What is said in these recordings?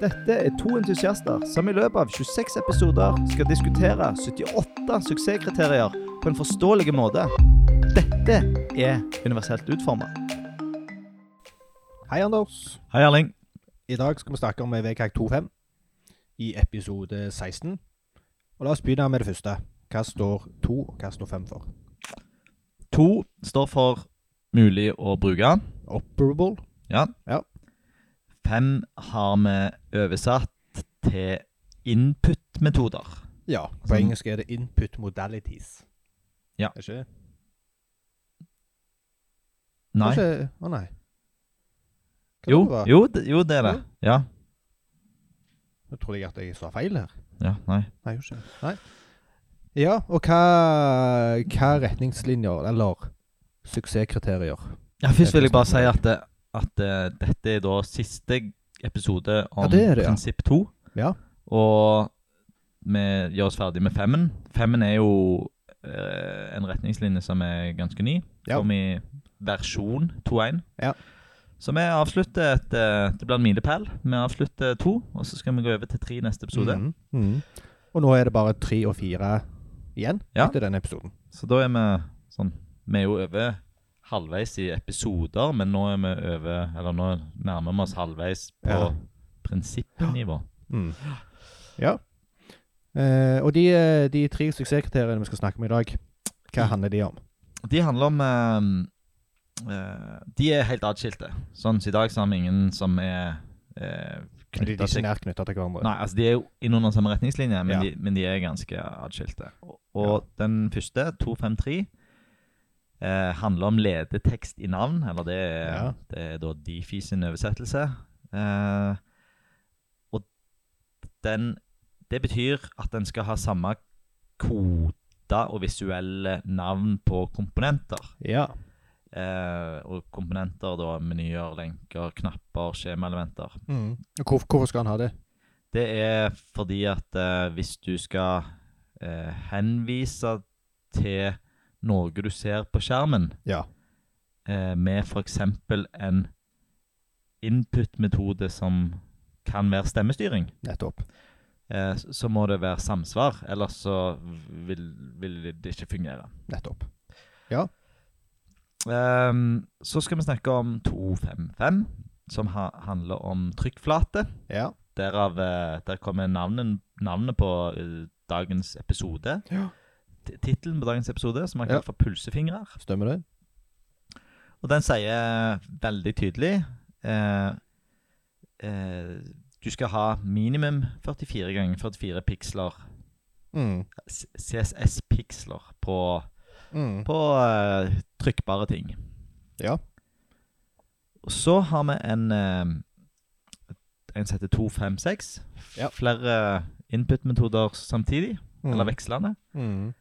Dette er to entusiaster som i løpet av 26 episoder skal diskutere 78 suksesskriterier på en forståelig måte. Dette er universelt utforma. Hei, Anders. Hei, Erling. I dag skal vi snakke om VKG 25 i episode 16. Og la oss begynne med det første. Hva står 2 og hva står 5 for? To står for mulig å bruke. Operable. Fem har vi oversatt til input-metoder. Ja, på Sånn. engelsk er det input modalities. Ja. Er ikke det? Nei. Er ikke- Å nei. Hva Jo, det var? jo, det- jo, det er det. Ja. Nå trodde jeg at jeg sa feil her. ja nei. Nei, gjorde ikke det. Nei. Ja, og hva, hva retningslinjer, eller suksesskriterier? Ja, først vil jeg bare si at, det- at eh, dette er da siste episode om Ja, det er det, ja. prinsipp to. Ja. Og vi gjør oss ferdig med femmen. Femmen er jo eh, en retningslinje som er ganske ny. Ja. Kom i versjon 2.1. Ja. Så vi avslutter et eh, Det blir en milepæl. Vi avslutter to, og så skal vi gå over til tre i neste episode. Mhm, mhm. Og nå er det bare tre og fire igjen Ja. etter denne episoden. Så da er vi sånn Vi er jo over halvveis i episoder, men nå er vi over Eller nå nærmer vi oss halvveis på Ja. prinsippnivå. Mm. Ja. Eh, og de, eh, de tre suksesskriteriene vi skal snakke om i dag, Mm. hva handler de om? De handler om eh, eh, De er helt atskilte. Sånn som i dag så har vi ingen som er uh, De, de er knytta ikke til nært knytta til hverandre. Nei, altså de er jo innunder samme retningslinje, men, Ja. de, men de er ganske atskilte. Og, og den første, 253, eh, handler om ledetekst i navn, eller det er, Ja. det er da Difi sin oversettelse. Eh, og den, det betyr at en skal ha samme koder og visuelle navn på komponenter. Ja. Eh, og komponenter da, menyer, lenker, knapper, skjemaelementer. Mm. Og Hvor, hvorfor skal han ha det? Det er fordi at eh, hvis du skal eh, henvise til noe du ser på skjermen, Ja. eh, med f.eks. en input-metode som kan være stemmestyring, Nettopp. eh, s- så må det være samsvar, ellers så vil, vil det ikke fungere. Nettopp. Ehm, så skal vi snakke om 255, som ha, handler om trykkflate. Ja. Derav, eh, der kommer navnen, navnet på eh, dagens episode. Ja. T- Tittelen på dagens episode, som er kalt for 'Pulsefingrer'. Stemmer det? Og den sier veldig tydelig eh, eh, Du skal ha minimum 44 ganger 44 piksler, Mm. C- CSS-piksler, på, Mm. på eh, trykkbare ting. Ja. Og så har vi en eh, En som heter 256. Ja. Flere input-metoder samtidig, Mm. eller vekslende. Mm.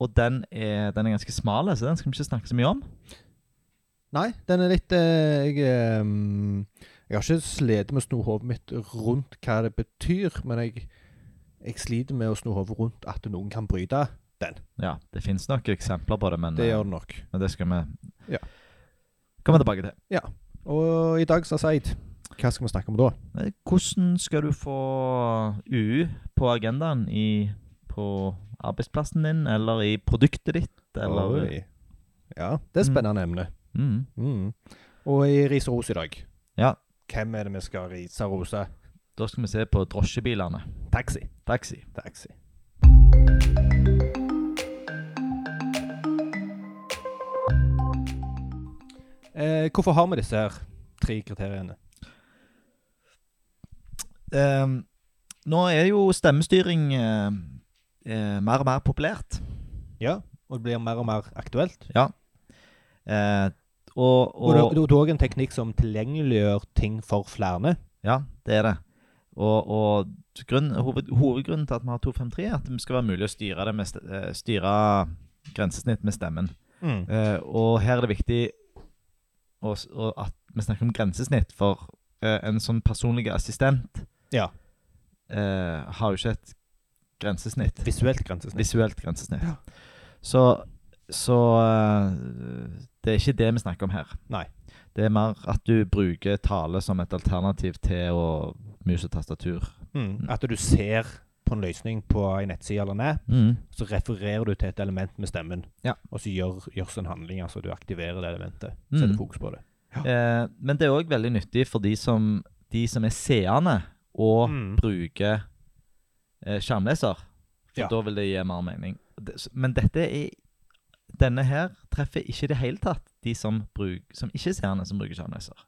Og den er, den er ganske smal, så den skal vi ikke snakke så mye om. Nei, den er litt eh, Jeg, eh, jeg har ikke slitt med å sno hodet mitt rundt hva det betyr, men jeg, jeg sliter med å sno hodet rundt at noen kan bryte. Ja, Det fins nok eksempler på det, men Det eh, gjør det nok. men det skal vi Ja. komme tilbake til. Og i dag, sa Seid, hva skal vi snakke om da? Eh, Hvordan skal du få UU på agendaen i, på arbeidsplassen din, eller i produktet ditt, eller Oi. Ja, det er et Mm. spennende emne. mm. Mm. Og i ris og ros i dag. Ja. Hvem er det vi skal rise og rose? Da skal vi se på drosjebilene. Taxi. Taxi. Taxi. Eh, hvorfor har vi disse her tre kriteriene? Ehm, nå er jo stemmestyring eh, eh, mer og mer populært. Ja, og det blir mer og mer aktuelt. Eh, og, Og, det- og, det er òg en teknikk som tilgjengeliggjør ting for flere. Ja, det er det. Og, og grunn, hoved, hovedgrunnen til at vi har 253, er at det skal være mulig å styre, det med, st- eh, styre grensesnitt med stemmen. Mm. Eh, og her er det viktig å, s- å, at vi snakker om grensesnitt, for eh, en sånn personlig assistent Ja. eh, har jo ikke et grensesnitt. Visuelt grensesnitt. Visuelt grensesnitt. Ja. Så, så eh, det er ikke det vi snakker om her. Nei. Det er mer at du bruker tale som et alternativ til å mus og tastatur. Mm. At du ser på en løsning på en nettside eller en app, Mm. så refererer du til et element med stemmen. Ja. Og så gjør, gjørs en handling, altså du aktiverer det elementet. Mm. Setter fokus på det. Eh, men det er òg veldig nyttig for de som, de som er seende og Mm. bruker eh, skjermleser. For Ja. da vil det gi mer mening. Det- s- Men dette er Denne her treffer ikke i det hele tatt de som, bruk, som ikke er seende, som bruker skjermleser.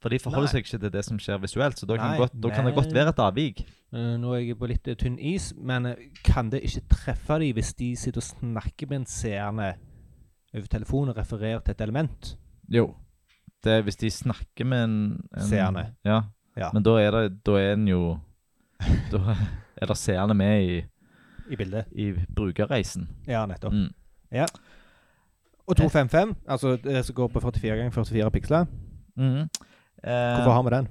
For de forholder Nei. seg ikke til det som skjer visuelt, så da kan, Nei, godt, da kan det godt men- være et avvik. Eh, nå er jeg på litt eh, tynn is, men eh, kan det ikke treffe dem hvis de sitter og snakker med en seende over telefonen og refererer til et element? Jo. Det er hvis de snakker med en, en Seerne. Ja. Ja. Men da er, det, da er en jo Da er det seerne med i, I bildet. i brukerreisen. Ja, nettopp. Mm. Og 255, altså det som går på 44 ganger 44 piksler. Mm. Eh, Hvorfor har vi den?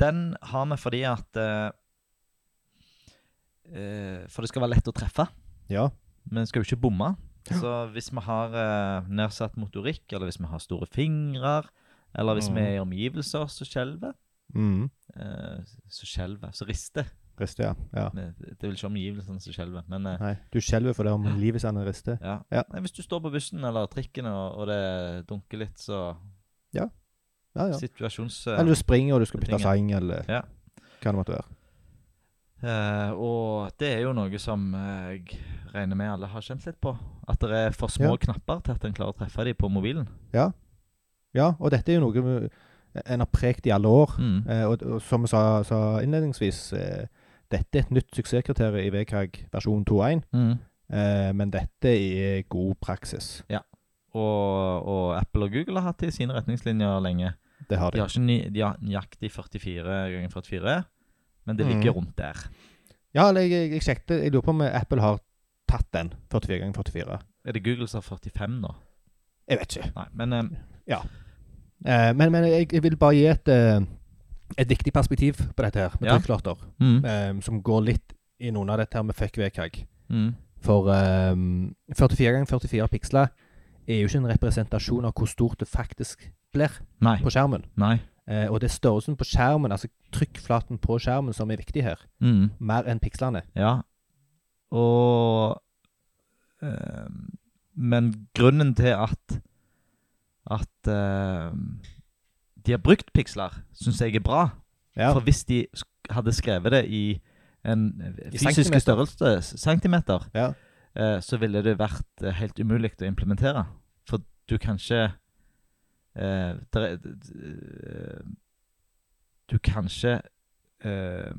Den har vi fordi at eh, eh, For det skal være lett å treffe. Ja. Men skal jo ikke bomme. Så hvis vi har eh, nedsatt motorikk, eller hvis vi har store fingre, eller hvis vi er i omgivelser som skjelver Mm. eh, Så skjelver Så rister. Riste, ja. ja. Men Det er vel ikke omgivelsene som skjelver, men eh, Nei, du skjelver for det om livet sender riste. ja. Ja. Nei, Hvis du står på bussen eller trikken og, og det dunker litt, så Ja, ja. Situasjons... Eller du springer og du skal bytte Betinget. seng, eller Ja. hva det måtte være. Eh, og det er jo noe som eh, jeg regner med alle har kjent litt på. At det er for små Ja. knapper til at en klarer å treffe dem på mobilen. Ja, og dette er jo noe vi- en har prekt i alle år. Mm. Eh, og, og som vi sa, sa innledningsvis, eh, dette er et nytt suksesskriterium i VKG versjon 2.1, Mm. eh, men dette er god praksis. Og, og Apple og Google har hatt det i sine retningslinjer lenge. Det har De de. har ikke ny, de har nøyaktig 44 ganger 44, men det ligger Mm. rundt der. Ja, eller jeg, jeg sjekket, jeg lurer på om Apple har tatt den 44 ganger 44. Er det Google som har 45 nå? Jeg vet ikke. Nei, men eh, Eh, men men jeg, jeg vil bare gi et, eh, et viktig perspektiv på dette her, med Ja. trykklarter, mm, eh, som går litt inn under dette her med fuck VKG. mm, For ehm, 44 ganger 44 piksler er jo ikke en representasjon av hvor stort det faktisk blir Nei. på skjermen. Nei. Eh, og det er størrelsen på skjermen, altså trykkflaten på skjermen, som er viktig her. Mm. Mer enn pikslene. Ja. Og eh, Men grunnen til at at eh, de har brukt piksler, syns jeg er bra. Ja. For hvis de sk- hadde skrevet det i en fysisk centimeter. størrelse, centimeter, Ja. eh, så ville det vært eh, helt umulig å implementere. For du kan ikke eh, der, er- d- d- eh, Du kan ikke eh,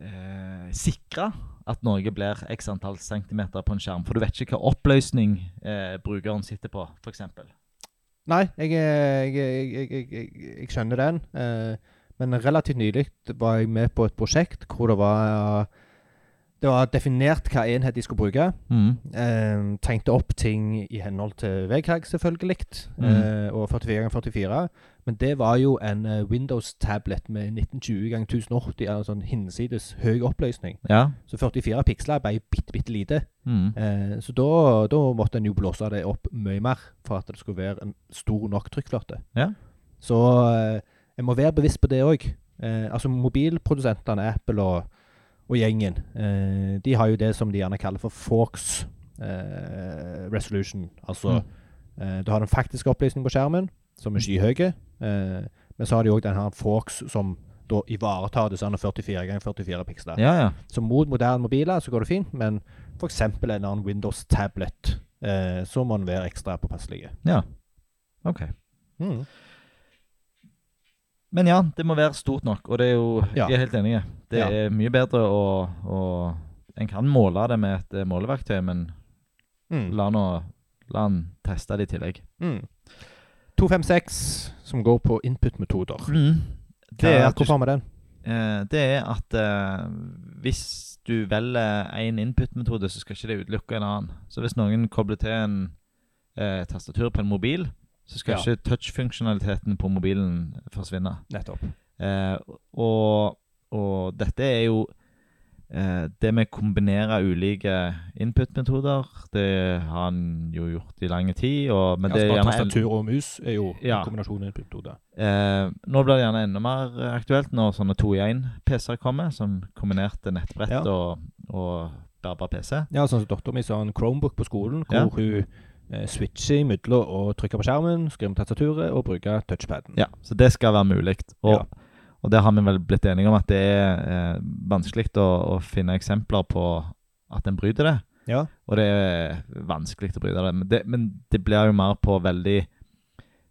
eh, sikre at Norge blir x antall centimeter på en skjerm. For du vet ikke hva oppløsning eh, brukeren sitter på, f.eks. Nei, jeg, er- jeg, er- jeg, jeg, jeg, jeg skjønner den. Eh, men relativt nylig var jeg med på et prosjekt hvor det var det var definert hva enhet de skulle bruke. Mm. Eh, tenkte opp ting i henhold til VKG, selvfølgelig. Eh, og 44 ganger 44. Men det var jo en eh, Windows-tablet med 1920 ganger 1080, eller sånn hinsides høy oppløsning. Ja. Så 44 piksler ble bitte, bitte lite. Mm. Eh, så da, da måtte en jo blåse det opp mye mer for at det skulle være en stor nok trykkflate. Ja. Så eh, en må være bevisst på det òg. Eh, altså mobilprodusentene, Apple og, og gjengen, eh, de har jo det som de gjerne kaller for Forks eh, resolution. Altså Mm. eh, du har den faktiske opplysningen på skjermen, som er skyhøy, eh, men så har de òg den her Forks som da ivaretar disse 44 ganger 44 piksler. ja, ja. Så mot moderne mobiler så går det fint, men f.eks. en eller annen Windows-tablet, eh, så må en være ekstra påpasselig. Hmm. Ja. OK. Men ja, det må være stort nok, og det er jo Ja. Jeg er helt enig. Det Ja. er mye bedre å, å En kan måle det med et eh, måleverktøy, men Hmm. la nå La han teste det i tillegg. Mm. 256, som går på input-metoder. Det, er at du, Hvorfor har vi den? eh, det er at eh, hvis du velger én input-metode, så skal ikke det utelukke en annen. Så hvis noen kobler til en eh, tastatur på en mobil, så skal Ja. ikke touch-funksjonaliteten på mobilen forsvinne. Nettopp. Eh, og, og dette er jo eh, det med å kombinere ulike input-metoder, det har han jo gjort i lang tid. Og, men ja, det er så bare gjerne en- tastatur og mus er jo Ja. en kombinasjon av input-metoder. Eh, nå blir det gjerne enda mer eh, aktuelt når sånne 2-i-1-PC-er kommer, som kombinerte nettbrett Ja. og, og bærbar PC. Ja, sånn som dattera mi har en Chromebook på skolen, hvor Ja. hun eh, switcher imellom å trykke på skjermen, skrive på tastaturet og bruke touchpaden. Ja, Så det skal være mulig. Og, og det har vi vel blitt enige om at det er eh, vanskelig å, å finne eksempler på at en bryter det. Ja. Og det er vanskelig å bryte det. Men det, men det blir jo mer på veldig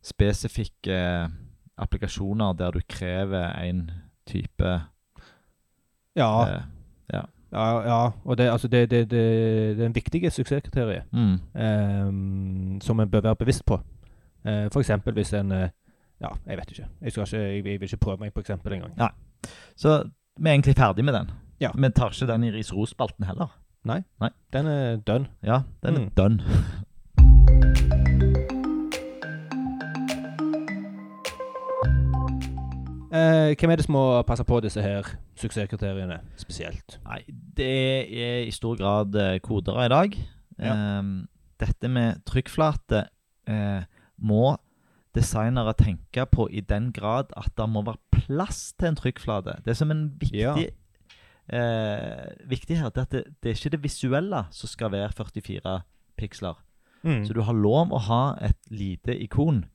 spesifikke eh, applikasjoner der du krever en type Ja, eh, ja, ja. og det, altså det, det, det, det er en viktig suksesskriterium mm, ehm, som en bør være bevisst på. Eh, for eksempel hvis en eh, Ja, jeg vet ikke. Jeg, skal ikke, jeg, jeg vil ikke prøve meg på eksempel engang. Så vi er egentlig ferdig med den. Ja. Vi tar ikke den i ris-ros-spalten heller. Den er done. Ja, den er Mm. done. Eh, hvem er det som må passe på disse her suksesskriteriene spesielt? Nei, det er i stor grad eh, kodere i dag. Ehm, dette med trykkflate eh, må designere tenke på i den grad at det må være plass til en trykkflate. Det som en viktig Ja. eh, viktighet er at det, det er ikke det visuelle som skal være 44 piksler. Mm. Så du har lov å ha et lite ikon.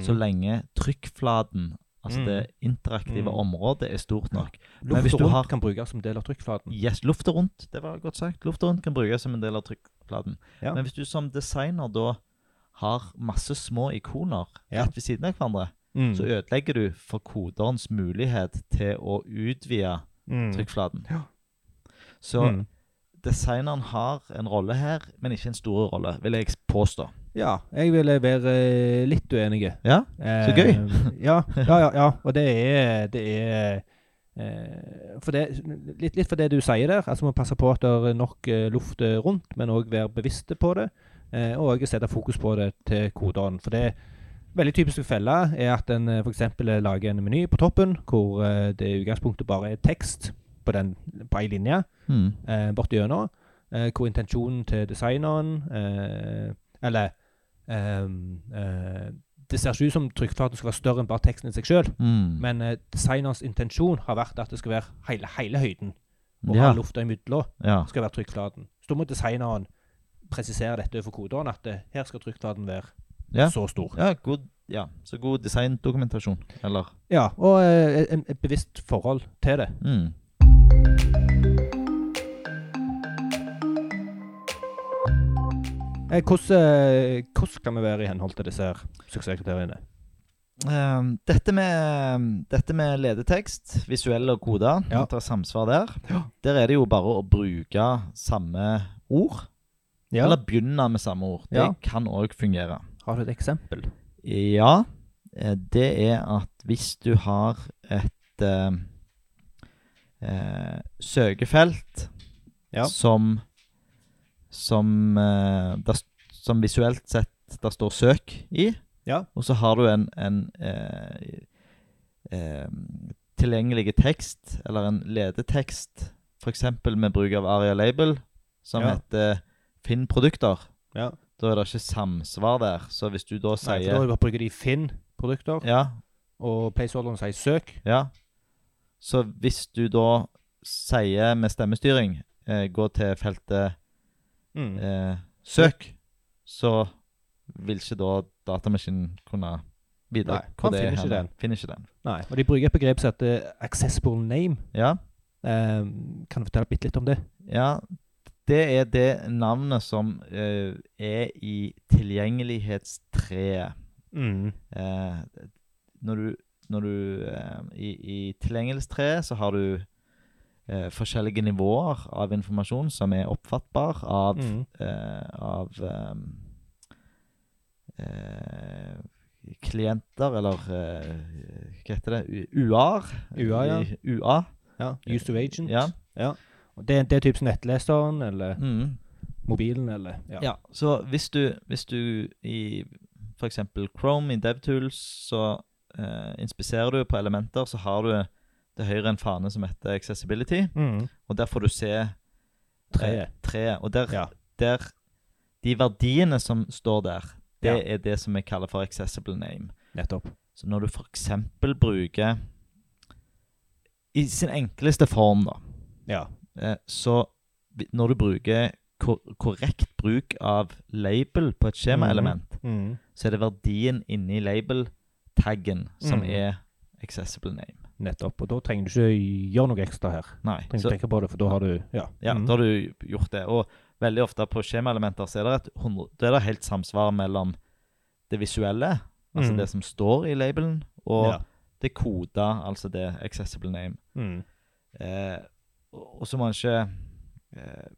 så lenge trykkflaten, altså Mm. det interaktive Mm. området, er stort nok. Luft hvis du rundt har- kan brukes som del av trykkflaten. Yes, Lufta rundt det var godt sagt. Lufta rundt kan brukes som en del av trykkflaten. Ja. Men hvis du som designer da har masse små ikoner Ja. rett ved siden av hverandre, Mm. så ødelegger du for koderens mulighet til å utvide Mm. trykkflaten. Ja. Så Mm. designeren har en rolle her, men ikke en stor rolle, vil jeg påstå. Ja, jeg ville være litt uenig. Ja? Eh, Så gøy. ja, ja, ja, ja. Og det er, det er eh, for det, litt, litt for det du sier der. Altså må passe på at det er nok eh, luft eh, rundt, men òg være bevisste på det. Eh, og også sette fokus på det til koderen. For det veldig typiske fella er at en f.eks. lager en meny på toppen hvor eh, det i utgangspunktet bare er tekst på den- på ei linje. Mm. eh, borti gjennom, eh, hvor intensjonen til designeren eh, Eller ehm, eh, Det ser ikke ut som trykkflaten skal være større enn bare teksten i seg sjøl, Mm. men eh, designerens intensjon har vært at det skal være hele, hele høyden. Og ja. all lufta imellom ja. skal være trykkflaten. Så da må designeren presisere dette overfor koderen, at eh, her skal trykkflaten være Ja. så stor. Ja, god, ja, så god designdokumentasjon, eller? Ja, og eh, en- et bevisst forhold til det. Mm. Eh, Hvordan eh, hvordan kan vi være i henhold til disse her suksesskriteriene? Ehm, dette, med, dette med ledetekst, visuelle og koder, Ja. at det er samsvar der, der er det jo bare å bruke samme ord, eller begynne med samme ord. Det Ja. kan òg fungere. Har du et eksempel? Ja, eh, det er at hvis du har et eh, eh, søkefelt Ja. som som, eh, der, s- som visuelt sett der står 'søk' i, Ja. og så har du en, en eh, eh, tilgjengelig tekst, eller en ledetekst, f.eks. med bruk av Aria Label, som Ja. heter 'Finn produkter'. Ja. Da er det ikke samsvar der. Så hvis du da Nei, sier for da bruker de Finn-produkter, Ja, og placeholderen sier søk. ja. Så hvis du da sier med stemmestyring eh, Gå til feltet eh, søk, så vil ikke da datamaskinen kunne vite Nei, hvor han det finner er. ikke hen. den. Finner ikke den. Nei, og de bruker et begrep som heter accessible name. Ja, Eh, kan du fortelle bitte litt om det? ja. Det er det navnet som eh, er i tilgjengelighetstreet. Eh, når du, når du eh, i, I tilgjengelighetstreet så har du eh, forskjellige nivåer av informasjon som er oppfattbar av, Mm. eh, av eh, eh, klienter, eller eh, hva heter det, U- UAR. UA, ja. I- UA. Ja, Used to agent. Ja. Og Det, det er typisk nettleseren, eller Mm. mobilen, eller Ja, så hvis du, hvis du i f.eks. Chrome i DevTools, så eh, inspiserer du på elementer, så har du til høyre en fane som heter Accessibility. Mm. Og der får du se eh, Treet. treet. Og der, Ja. der De verdiene som står der, det Ja. er det som vi kaller for accessible name. Nettopp. Så når du f.eks. bruker I sin enkleste form, da, Ja. eh, så vi- når du bruker kor korrekt bruk av label på et skjemaelement, Mm. så er det verdien inni label-taggen som Mhm. er accessible name. Nettopp. Og da trenger du ikke gjøre noe ekstra her. Nei, Trenger så, ikke tenke på det, for da har du Ja. ja, Mm. da har du gjort det. Og veldig ofte på skjemaelementer så er det, et hundre- da er det helt samsvar mellom det visuelle, altså Mhm. det som står i labelen, og Ja. det koda, altså det accessible name. Mm. Eh, og og så må en ikke eh,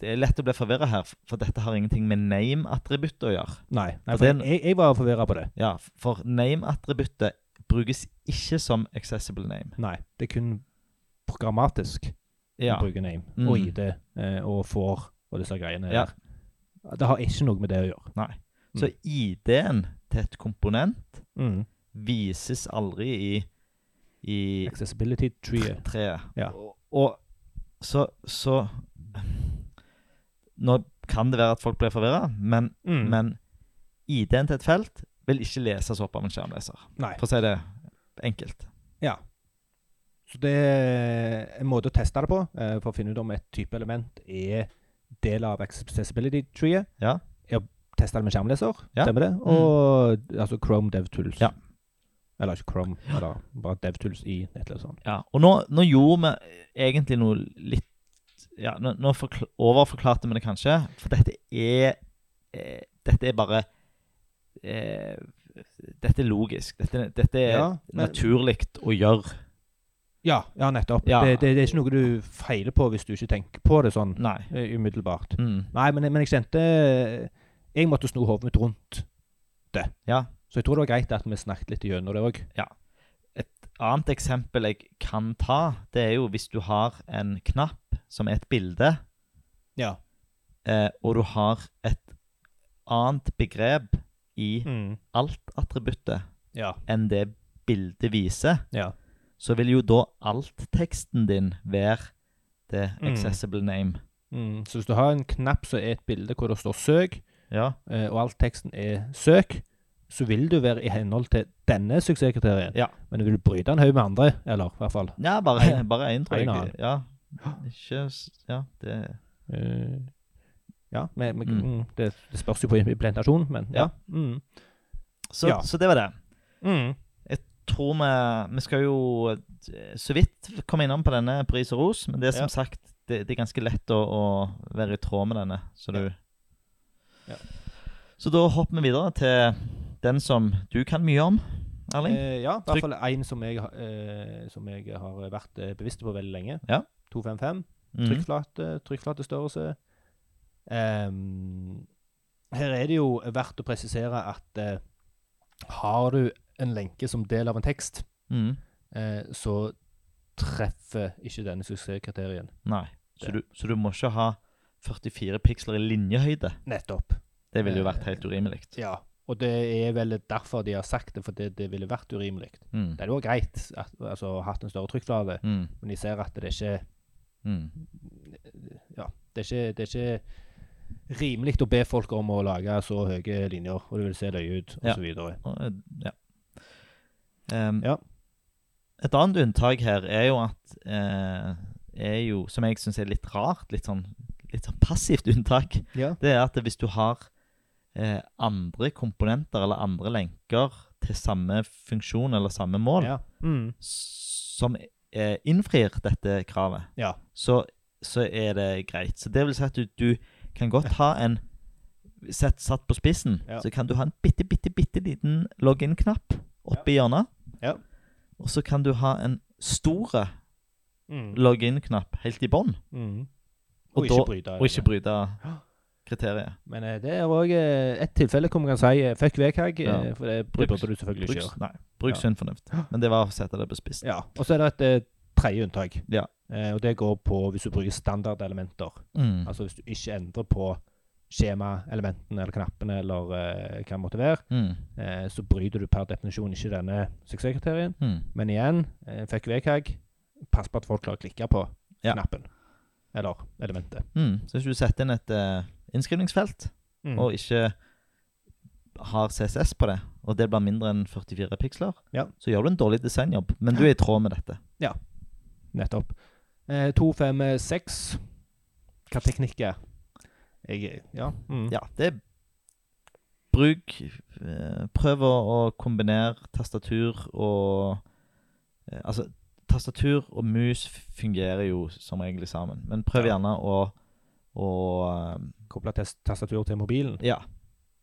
Det er lett å bli forvirra her, f- for dette har ingenting med name-attributtet å gjøre. Nei. Nei For for det er en- jeg, jeg var forvirra på det. Ja, f- For name-attributtet brukes ikke som accessible name. Nei. Det er kun programmatisk Ja, å bruke name Mm. og ID eh, og for og disse greiene Ja. der. Det har ikke noe med det å gjøre. Så ID-en til et komponent Mm. vises aldri i, i Accessibility tree. treet. Ja. Og, og så, så Nå kan det være at folk blir forvirra, men, Mm. men ID-en til et felt vil ikke leses opp av en skjermleser. Nei. For å si det enkelt. Ja. Så det er en måte å teste det på, eh, for å finne ut om et type element er del av accessibility treet. Ja. Er å teste det med skjermleser, Ja. Mm. stemmer det? Og altså Chrome DevTools. Ja. Eller ikke Chrome, eller bare DevTools i sånn. nettleseren. Ja, og nå, nå gjorde vi egentlig noe litt ja, Nå, nå forkl- overforklarte vi det kanskje, for dette er eh, Dette er bare eh, Dette er logisk. Dette, dette er Ja, men- naturlig å gjøre. Ja, ja nettopp. Ja. Det, det, det er ikke noe du feiler på hvis du ikke tenker på det sånn Nei. eh, umiddelbart. Mm. Nei, men, men jeg kjente Jeg måtte sno hodet mitt rundt det. Ja. Så jeg tror det var greit at vi snakket litt gjennom det òg. Annet eksempel jeg kan ta, det er jo hvis du har en knapp som er et bilde, Ja. eh, og du har et annet begrep i Mm. alt-attributtet Ja. enn det bildet viser. ja. så vil jo da alt-teksten din være det Mm. accessible name. Mm. Så hvis du har en knapp som er et bilde hvor det står 'søk', Ja. eh, og alt teksten er 'søk', så vil du være i henhold til denne suksesskriterien. Ja. Men du vil bryte en haug med andre, eller i hvert fall ja, bare, bare én, tror En av jeg. Ja. Ikke s- Ja, det eh, Ja, med, med, Mm. mm. det, det spørs jo på implementasjon, men ja. Ja. Mm. Så, Ja. så det var det. Mm. Tror vi Vi skal jo eh, så vidt komme innom på denne pris og ros, men det er som Ja. sagt det, det er ganske lett å, å være i tråd med denne, så du Ja. Så da hopper vi videre til den som du kan mye om, Erling. Eh, ja, i Trykk. hvert fall en som jeg, har- eh, som jeg har vært eh, bevisst på veldig lenge. Ja. 255. Mhm. Trykkflate, trykkflatestørrelse. Ehm, her er det jo verdt å presisere at eh, har du en lenke som del av en tekst, Mhm. eh, så treffer ikke denne suksesskriterien. Nei. Så Det. du, så du må ikke ha 44 piksler i linjehøyde. Nettopp. Det ville jo vært Eh, helt urimelig. Ja. Og det er vel derfor de har sagt det, for det, det ville vært urimelig. Mm. Det hadde vært greit at, altså, å ha hatt en større trykkflate, Mm. men de ser at det er ikke Mm. ja, det er ikke, det er ikke rimelig å be folk om å lage så høye linjer, og det vil se løye ut, Ja. osv. videre Og, eh, Ja. Ehm, Ja. Et annet unntak her er jo at eh, er jo, Som jeg syns er litt rart, litt sånn, litt sånn passivt unntak, Ja. det er at hvis du har eh, andre komponenter eller andre lenker til samme funksjon eller samme mål, Ja. Mm. s- som eh, innfrir dette kravet, ja. så, så er det greit. Så det vil si at du, du kan godt ha en sett, Satt på spissen, Ja. så kan du ha en bitte, bitte, bitte liten login-knapp oppe i hjørnet. Ja. Og så kan du ha en stor Mm. login-knapp helt i bånn, Mm. Og Og, da- ikke bryte. og ikke bryte kriteriet. Men eh, det er òg et tilfelle hvor man kan si eh, fuck VKG, Ja. eh, for det Bruk- burde du selvfølgelig ikke Bruk, gjøre. nei, bruk Ja. sunn fornuft. Men det var å sette det på spissen. Ja. Og så er det et eh, tredje unntak, Ja. Eh, og det går på hvis du bruker standardelementer. Mm. Altså hvis du ikke endrer på skjemaelementene eller knappene eller eh, hva det måtte være, Mm. eh, så bryter du per definisjon ikke denne suksesskriterien. Mm. Men igjen, eh, fuck VKG, pass på at folk klarer å klikke på Ja. knappen. Eller elementet. Mm. Så hvis du setter inn et eh, innskrivningsfelt, Mm. og ikke har CSS på det, og det blir mindre enn 44 piksler, Ja. så gjør du en dårlig designjobb, men du er i tråd med dette. Nettopp. Eh, 256. Hva teknikk er? Jeg Ja. Mm. Ja, det er Bruk eh, Prøv å, å kombinere tastatur og eh, Altså, tastatur og mus fungerer jo som regel sammen, men prøv Ja. gjerne å å eh, Koble tas- tastatur til mobilen Ja.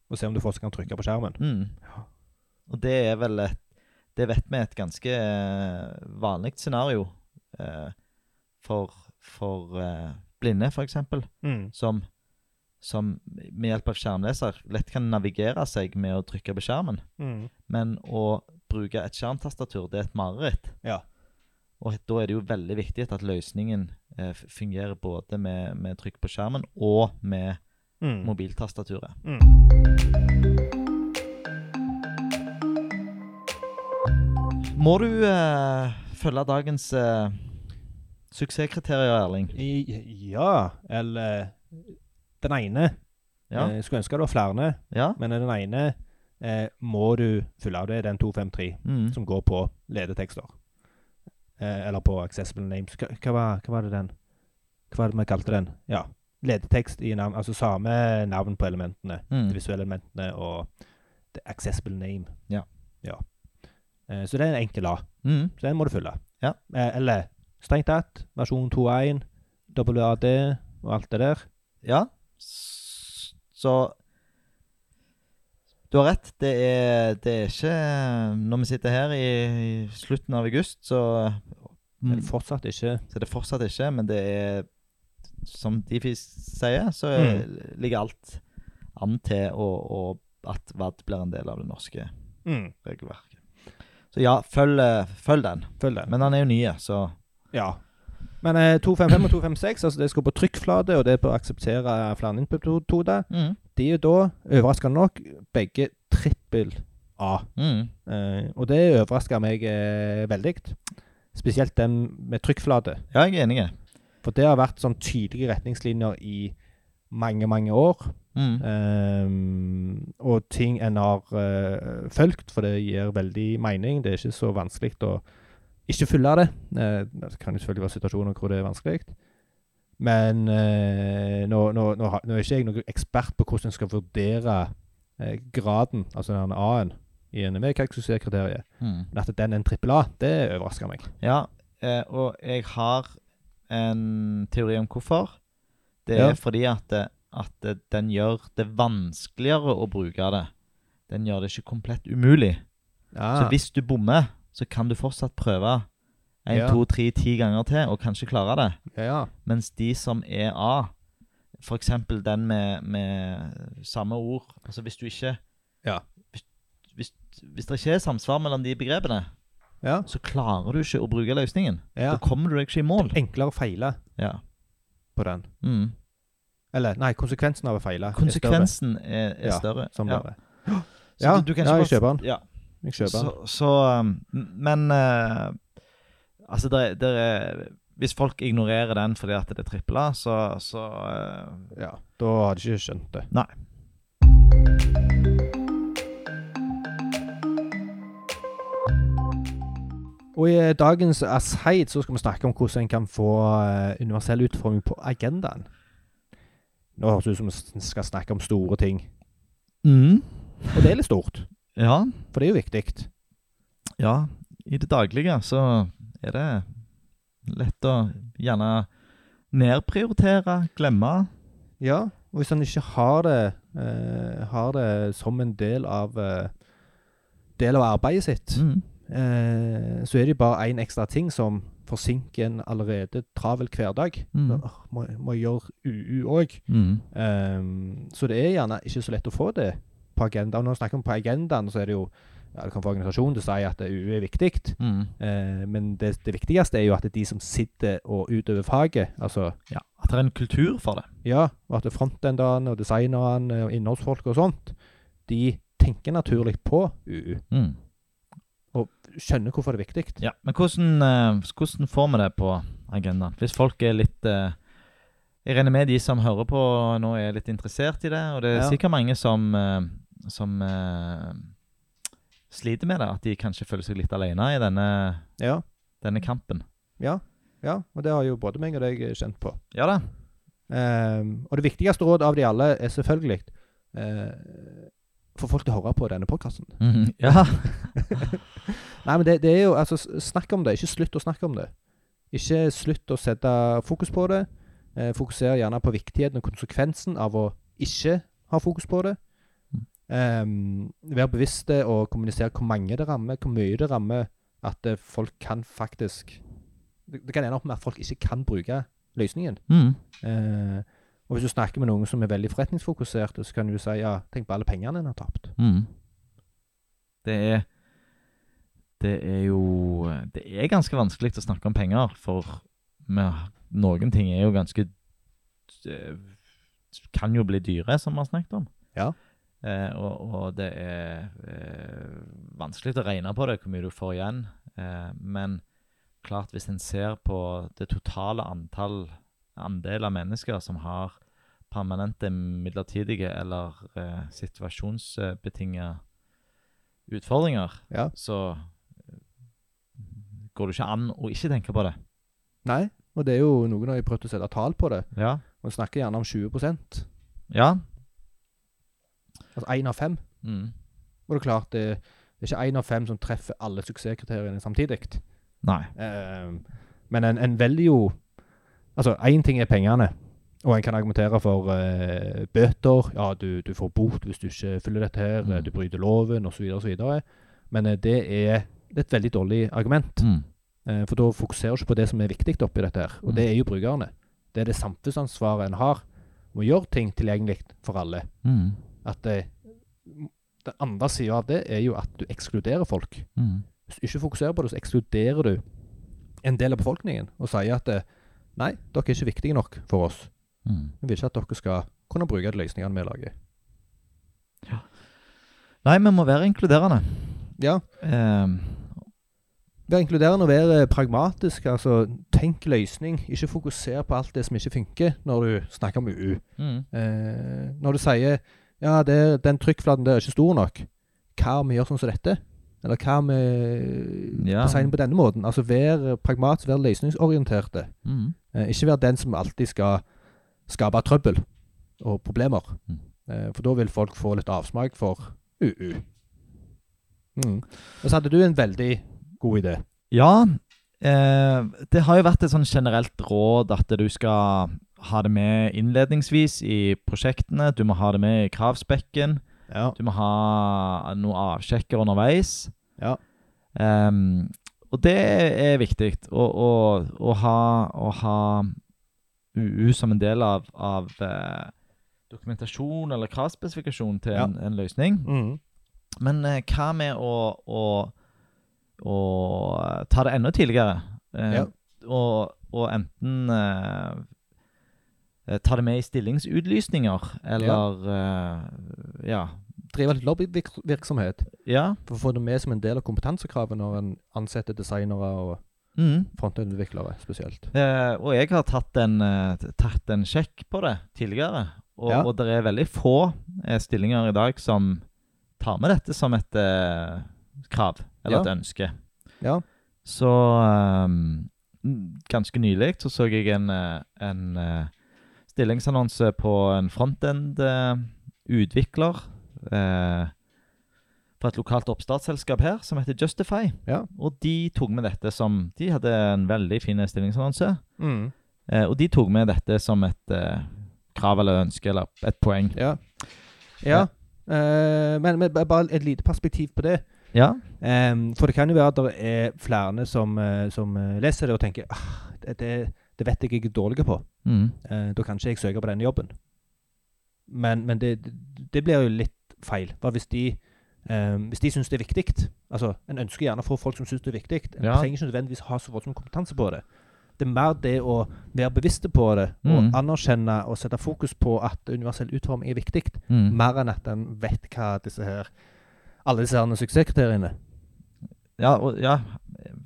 og se om du fortsatt kan trykke på skjermen. Mm. Ja. Og det er vel et Det vet vi er et ganske eh, vanlig scenario eh, for, for eh, blinde, for eksempel. som, som med hjelp av skjermleser lett kan navigere seg med å trykke på skjermen. Men å bruke et skjermtastatur, det er et mareritt. Ja. Og da er det jo veldig viktig at løsningen eh, f- fungerer både med, med trykk på skjermen og med Mm. Mm. mobiltastaturet. Må du eh, følge dagens eh, suksesskriterier, Erling? I, ja, eller eh, Den ene. Ja? Eh, skulle ønske det var flere, Ja? men den ene eh, må du fylle av. Det er den 253 Mm. som går på ledetekster. Eh, eller på accessible names. Hva, hva, var, hva var det den Hva var det vi kalte den? Ja. Ledetekst i navn. Altså samme navn på elementene. Mm. De visuelle elementene og the accessible name. Ja. ja. Eh, så det er en enkel A. Mm. Så den må du fylle. Ja. Eh, eller strengt tatt, versjon 2.1, WAD og alt det der. Ja. S- Så Du har rett. Det er, det er ikke eh, Når vi sitter her i, i slutten av august, så Mm. Men fortsatt ikke så er det fortsatt ikke, men det er Som Difi sier, så er- ligger alt an til å, å, at VAD blir en del av det norske Mm. regelverket. Så ja, følg, eh, følg den. Følg den. Men han er jo ny, så Ja. Men eh, 255 og 256, altså det skal på trykkflate, og det er på å akseptere flere input-metoder. mm, De er da, overraskende nok, begge trippel A. mm, Eh, og det overrasker meg eh, veldig. Spesielt den med trykkflate. Ja, jeg er enig. For det har vært sånn tydelige retningslinjer i mange, mange år. Mm, Ehm, og ting en har eh, fulgt, for det gir veldig mening. Det er ikke så vanskelig å ikke følge det. Eh, det kan jo selvfølgelig være situasjoner hvor det er vanskelig. Men eh, nå, nå, nå, har- nå er ikke jeg noen ekspert på hvordan en skal vurdere eh, graden, altså den A-en, i en VK-suksesskriteriet. mm. Men at den er en trippel A, det overrasker meg. Ja, eh, og jeg har en teori om hvorfor. Det Ja. er fordi at, det- at det- den gjør det vanskeligere å bruke det. Den gjør det ikke komplett umulig. Så hvis du bommer, så kan du fortsatt prøve 1, Ja. 2, 3, 10 ganger til og kanskje klare det. ja, ja. Mens de som er A, f.eks. den med, med samme ord Altså hvis du ikke Ja. hvis, hvis, hvis det ikke er samsvar mellom de begrepene, ja. så klarer du ikke å bruke løsningen. ja. Da kommer du deg ikke i mål. Enklere å feile Ja. på den. Mm. Eller nei, konsekvensen av å feile. er større. Konsekvensen er, er Ja, større. Som ja. bare. Så Ja, du, du kan ja, ikke bare- jeg kjøper den. Ja. Jeg kjøper den. Så, så um, Men eh, Altså, der, er- der er Hvis folk ignorerer den fordi at det er trippel A, så, så eh, Ja, da hadde jeg ikke skjønt det. Nei. Og i eh, dagens Aside så skal vi snakke om hvordan en kan få eh, universell utforming på agendaen. Nå høres det ut som vi s- skal snakke om store ting. Mm. Og det er litt stort, Ja. for det er jo viktig. Ja. I det daglige så er det lett å gjerne nedprioritere, glemme. Ja, og hvis han ikke har det, eh, har det som en del av, eh, del av arbeidet sitt, Mm. eh, så er det jo bare én ekstra ting som forsinker en allerede travel hverdag. Mm. Åh, Må, må jeg gjøre UU òg. Mm. Ehm, så det er gjerne ikke så lett å få det på agendaen. Når vi snakker om på agendaen, så er det jo ja, Det kan få organisasjonen til å si at UU er viktig, Mm. eh, men det, det viktigste er jo at det er de som sitter og utøver faget, altså Ja. At det er en kultur for det. Ja, og at frontendene og designerne og innholdsfolk og sånt, de tenker naturlig på UU. Mm. Skjønner hvorfor det er viktig. Ja, Men hvordan, eh, hvordan får vi det på agendaen? Hvis folk er litt eh, Jeg regner med de som hører på nå, er litt interessert i det. Og det er Ja. sikkert mange som, eh, som eh, sliter med det. At de kanskje føler seg litt alene i denne, Ja, denne kampen. ja, ja, og det har jo både meg og deg eh, kjent på. Ja da. Ehm, og det viktigste råd av de alle er selvfølgelig eh, Få folk til å høre på denne podkasten. Mhm. ja. Nei, men det, det er jo Altså, s- snakk om det. Ikke slutt å snakke om det. Ikke slutt å sette fokus på det. Eh, fokuser gjerne på viktigheten og konsekvensen av å ikke ha fokus på det. Ehm, vær bevisste og kommunisere hvor mange det rammer, hvor mye det rammer. At eh, folk kan faktisk Det, det kan ende opp med at folk ikke kan bruke løsningen. Mm. Eh, og hvis du snakker med noen som er veldig forretningsfokuserte, så kan du si ja, tenk på alle pengene en har tapt. Mm. Det er Det er jo Det er ganske vanskelig å snakke om penger, for vi, har- noen ting er jo ganske eh, Kan jo bli dyre, som vi har snakket om. Ja. Eh, og, og det er eh, vanskelig å regne på det, hvor mye du får igjen. Eh, men klart, hvis en ser på det totale antall andel av mennesker som har permanente, midlertidige eller eh, situasjonsbetinga utfordringer, Ja. så eh, går det ikke an å ikke tenke på det. Nei, og det er jo noen har jo prøvd å sette tall på det, Ja. og snakker gjerne om 20 Altså Ja. én Altså av fem. Mm. Og det er klart, det, det er ikke én av fem som treffer alle suksesskriteriene samtidig. Nei. Eh, men en, en velger jo Altså, én ting er pengene, og en kan argumentere for eh, bøter. Ja, du, du får bot hvis du ikke følger dette her, Mm. du bryter loven osv. osv. Men eh, det, er, det er et veldig dårlig argument. Mm. Eh, For da fokuserer du ikke på det som er viktig oppi dette her, og det er jo brukerne. Det er det samfunnsansvaret en har, om å gjøre ting tilgjengelig for alle. Mm. At det, den andre sida av det er jo at du ekskluderer folk. Mm. Hvis du ikke fokuserer på det, så ekskluderer du en del av befolkningen og sier at eh, nei, dere er ikke viktige nok for oss. Mm. Vi vil ikke at dere skal kunne bruke de løsningene vi lager. Nei, vi må være inkluderende. Ja, Ehm, Vær inkluderende og vær eh, pragmatisk. altså Tenk løsning. Ikke fokuser på alt det som ikke funker, når du snakker om UU. mm. Eh, når du sier ja, det, den trykkflaten der er ikke stor nok, hva om vi gjør sånn som dette? Eller hva om vi Ja. designer på denne måten? Altså Vær pragmatisk, vær løsningsorienterte. Mm. Eh, ikke vær den som alltid skal skape trøbbel og problemer. Mm. Eh, for da vil folk få litt avsmak for UU. Mm. Og så hadde du en veldig god idé. Ja, eh, det har jo vært et sånn generelt råd at du skal ha det med innledningsvis i prosjektene. Du må ha det med i kravspekken. Ja. Du må ha noe avsjekker underveis. Ja. Ehm, og det er viktig å, å, å, ha, å ha UU som en del av, av eh, dokumentasjon eller kravspesifikasjon til Ja. en, en løsning. Mm. Men eh, hva med å, å, å ta det enda tidligere? Eh, Ja. og, og enten eh, eh, ta det med i stillingsutlysninger, eller eh, ja. Drive litt lobbyvirksomhet ja. for å få det med som en del av kompetansekravet når en ansetter designere og Mm. frontendutviklere spesielt. Eh, og jeg har tatt en, eh, t- tatt en sjekk på det tidligere. Og, Ja. og det er veldig få eh, stillinger i dag som tar med dette som et eh, krav eller Ja. et ønske. Ja. Så ehm, n- ganske nylig så så jeg en, eh, en eh, stillingsannonse på en eh, frontend-utvikler fra eh, et lokalt oppstartsselskap her som heter Justify. Ja. Og de tok med dette som De hadde en veldig fin stillingsannonse. Eh, og de tok med dette som et eh, krav eller ønske eller et poeng. Ja. ja. Eh, men, men ba- bare et lite perspektiv på det. Ja. Em, for det kan jo være at det er flere som, eh, som eh, leser det og tenker ah, det, det, det vet jeg jeg er dårlig på. Mm. Eh, da kan ikke jeg søke på denne jobben. Men, men det, det blir jo litt feil. Hva hvis de um, hvis de syns det er viktig altså En ønsker gjerne å få folk som syns det er viktig. En Ja. trenger ikke nødvendigvis ha så voldsom kompetanse på det. Det er mer det å være bevisste på det, og Mm. anerkjenne og sette fokus på at universell utforming er viktig, Mm. mer enn at en vet hva disse her alle disse her suksesskriteriene Ja, og, ja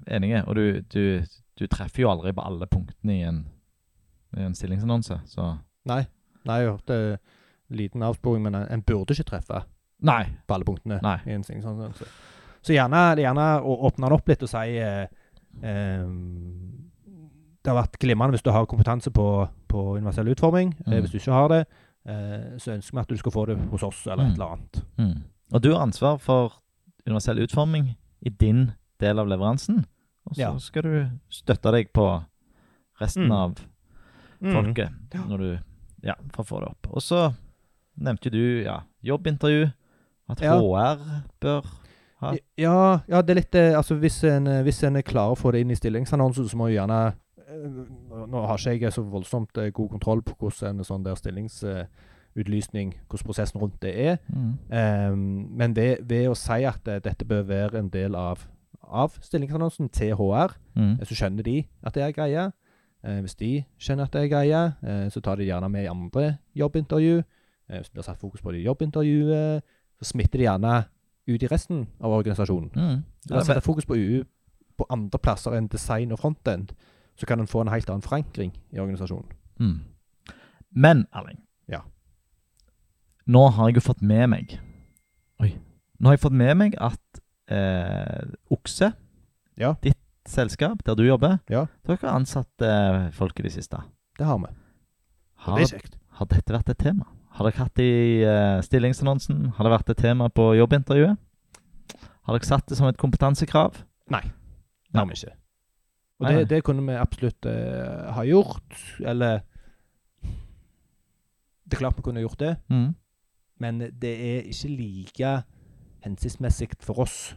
enige. Og du, du, du treffer jo aldri på alle punktene i en, i en stillingsannonse, så Nei. Nei, jeg hørte liten avsporing, men en- en burde ikke treffe Nei. på alle punktene. Nei. i en stillingsannonse. Så gjerne, gjerne å åpne den opp litt og si eh, ehm, Det har vært glimrende hvis du har kompetanse på, på universell utforming. Eh, Mm. hvis du ikke har det, eh, så ønsker vi at du skal få det hos oss, eller Mm. et eller annet. Mm. Og du har ansvar for universell utforming i din del av leveransen. Og så Ja. skal du støtte deg på resten Mm. av folket når du, ja, for å få det opp. Og så nevnte jo du ja, jobbintervju, at Ja. HR bør ha eh, Ja, ja, det er litt eh, Altså, hvis en, eh, hvis en er klar å få det inn i stillingsannonsen, så må jo gjerne eh, Nå nå har ikke jeg så voldsomt eh, god kontroll på hvordan en sånn der stillingsutlysning, hvordan prosessen rundt det er. mm. Ehm, men ved, ved å si at eh, dette bør være en del av, av stillingsannonsen til HR, Mm. eh, så skjønner de at det er greia. Eh, hvis de skjønner at det er greia, eh, så tar de gjerne med i andre jobbintervju. Eh, hvis det blir satt fokus på det i jobbintervjuet, så smitter de gjerne ut i resten av organisasjonen. Mm. Ved å sette fokus på UU på andre plasser enn design og frontend, så kan en få en helt annen forankring i organisasjonen. Mm. Men, Erling. Ja. Nå har jeg jo fått med meg Oi. Nå har jeg fått med meg at eh, Okse, Ja. ditt selskap der du jobber, Ja. dere har ansatt eh, folk i det siste. Det har vi. Og det Har, er kjekt. har dette vært et tema? Har dere hatt det i eh, stillingsannonsen? Har det vært et tema på jobbintervjuet? Har dere satt det som et kompetansekrav? Det har vi ikke. Og Nei, det, nei. det kunne vi absolutt eh, ha gjort, eller Det er klart vi kunne gjort det, Mm. men det er ikke like hensiktsmessig for oss.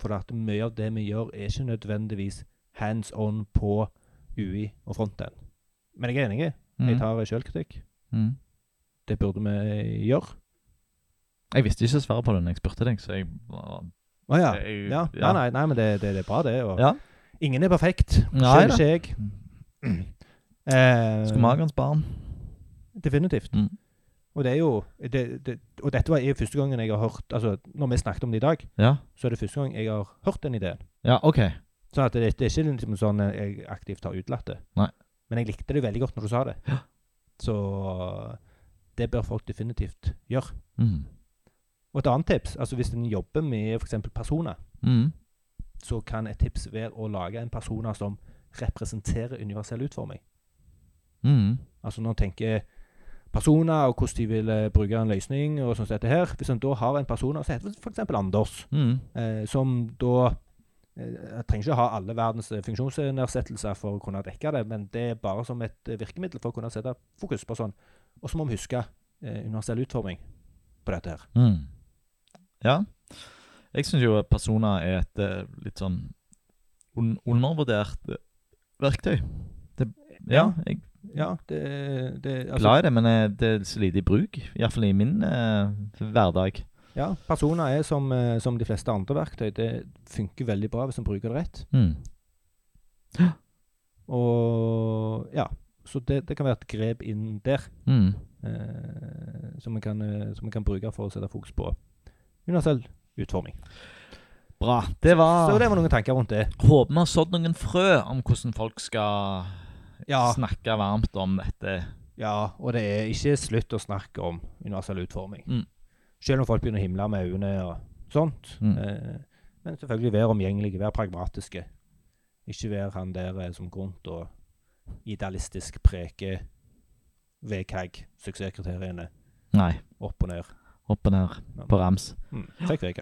For at mye av det vi gjør, er ikke nødvendigvis hands on på UI og frontend. Men jeg er enig. Mm. Jeg tar sjølkritikk. mm. Det burde vi gjøre. Jeg visste ikke svaret på det når jeg spurte deg, så jeg var Å ja. jeg- ja. Nei, nei, nei, men det, det, det er bra, det. Og Ja. Ingen er perfekt. Nei da. Selv Mm. ikke jeg. Eh, Skomagerens barn. Definitivt. Mm. Og det er jo det, det, Og dette var er første gangen jeg har hørt Altså, når vi snakket om det i dag, Ja. så er det første gang jeg har hørt den ideen. ja, OK. Sånn at det, det er ikke liksom sånn jeg aktivt har utelatt det. Nei. Men jeg likte det veldig godt når du sa det. Så det bør folk definitivt gjøre. Mm. Og et annet tips, altså hvis en jobber med f.eks. personer, Mm. så kan et tips være å lage en personer som representerer universell utforming. Mm. Altså når en tenker personer og hvordan de vil eh, bruke en løsning og sånn som dette her. Hvis en da har en person som heter f.eks. Anders, Mm. eh, som da eh, jeg trenger ikke ha alle verdens eh, funksjonsnedsettelser for å kunne dekke det, men det er bare som et eh, virkemiddel for å kunne sette fokus på sånn. Og så må vi huske eh, universell utforming på dette her. Mm. Ja. Jeg syns jo at personer er et eh, litt sånn un undervurdert eh, verktøy. Det, ja, Ja. jeg Ja, det, det er altså, glad i det, men eh, det er så lite i bruk. Iallfall i min eh, hverdag. Ja, personer er som, eh, som de fleste andre verktøy. Det funker veldig bra hvis en bruker det rett. Mm. Og ja, så det, det kan være et grep inn der. Mm. eh, som vi kan, eh, som vi kan bruke for å sette fokus på universell utforming. Bra. Det var Så det var noen tanker rundt det. Håper vi har sådd noen frø om hvordan folk skal Ja, snakke varmt om dette. ja, og det er ikke slutt å snakke om universell utforming. Mm. Selv om folk begynner å himle med øynene og sånt. Mm. Eh, men selvfølgelig være omgjengelige, være pragmatiske. Ikke være han der eh, som går rundt og idealistisk preker VKG, suksesskriteriene, Nei. opp og ned. Opp og ned på rams. Mm. Fikk VKG.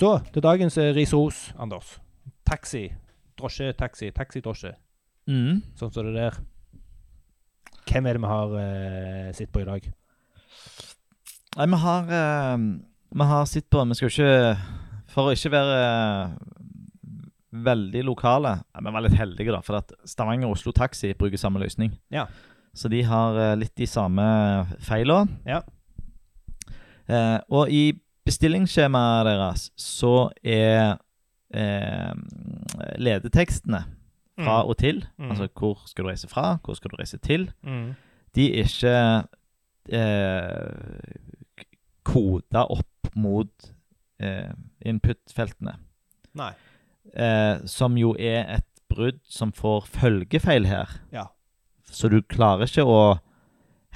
Så til dagens eh, ris-ros, Anders. Taxi, drosje, taxi, taxidrosje. Mm. Sånn som det der. Hvem er det vi har eh, sett på i dag? Nei, vi har eh, Vi har sett på Vi skal jo ikke For å ikke være eh, veldig lokale ja, Vi var litt heldige, da. For at Stavanger og Oslo Taxi bruker samme løsning. Ja. Så de har eh, litt de samme feila. Ja. Eh, og i bestillingsskjemaet deres så er eh, ledetekstene fra og til, Mm. altså hvor skal du reise fra, hvor skal du reise til, Mm. de er ikke eh, k- koda opp mot eh, input-feltene. Nei. Eh, som jo er et brudd som får følgefeil her. Ja. Så du klarer ikke å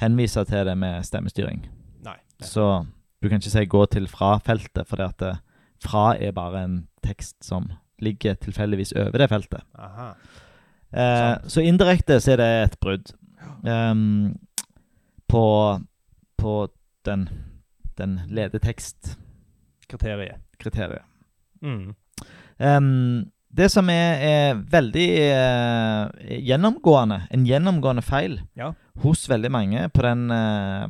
henvise til det med stemmestyring. Nei. Så du kan ikke si 'gå til fra-feltet', fordi at eh, 'fra' er bare en tekst som ligger tilfeldigvis over det feltet. Aha. Eh, så indirekte så er det et brudd ehm, på, på den, den ledetekstkriteriet. Kriteriet. Mm. Ehm, det som er, er veldig eh, gjennomgående, en gjennomgående feil Ja. hos veldig mange på den, eh,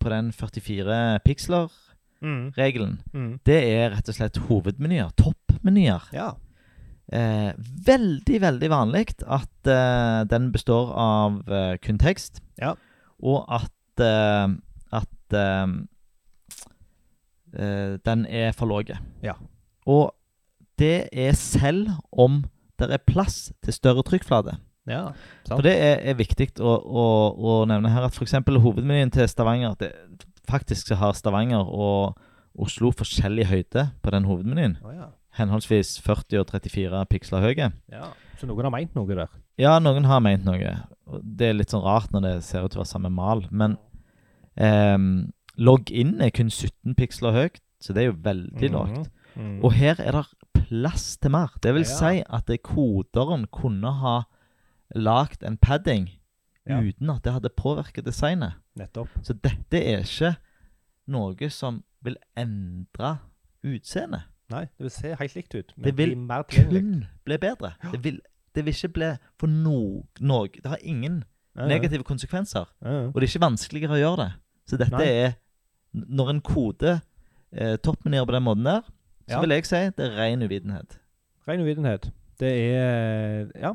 på den 44 piksler-regelen, Mm. Mm. det er rett og slett hovedmenyer, toppmenyer. Ja. Eh, veldig, veldig vanlig at eh, den består av eh, kun tekst, Ja. og at, eh, at eh, eh, den er for låg. Ja. Og det er selv om det er plass til større trykkflate. Ja. For det er, er viktig å, å, å nevne her at f.eks. hovedmenyen til Stavanger det, Faktisk så har Stavanger og Oslo forskjellig høyde på den hovedmenyen. Å ja. Henholdsvis 40 og 34 piksler høye. ja. Så noen har meint noe der. Ja, noen har meint noe. og Det er litt sånn rart når det ser ut til å være samme mal, men ehm, login er kun 17 piksler høyt, så det er jo veldig lavt. Mm. Og her er det plass til mer. Det vil Ja. si at det koderen kunne ha lagd en padding Ja. uten at det hadde påvirket designet. Nettopp. Så dette er ikke noe som vil endre utseendet. Nei, det vil se helt likt ut. men Det vil bli mer tilgjengelig. Kun bli bedre. Det vil, det vil ikke bli for no, noe Det har ingen Ja, ja. negative konsekvenser. Ja, ja. Og det er ikke vanskeligere å gjøre det. Så dette Nei. er n- Når en koder eh, toppmenyer på den måten der, så Ja. vil jeg si det er ren uvitenhet. Ren uvitenhet. Det er Ja.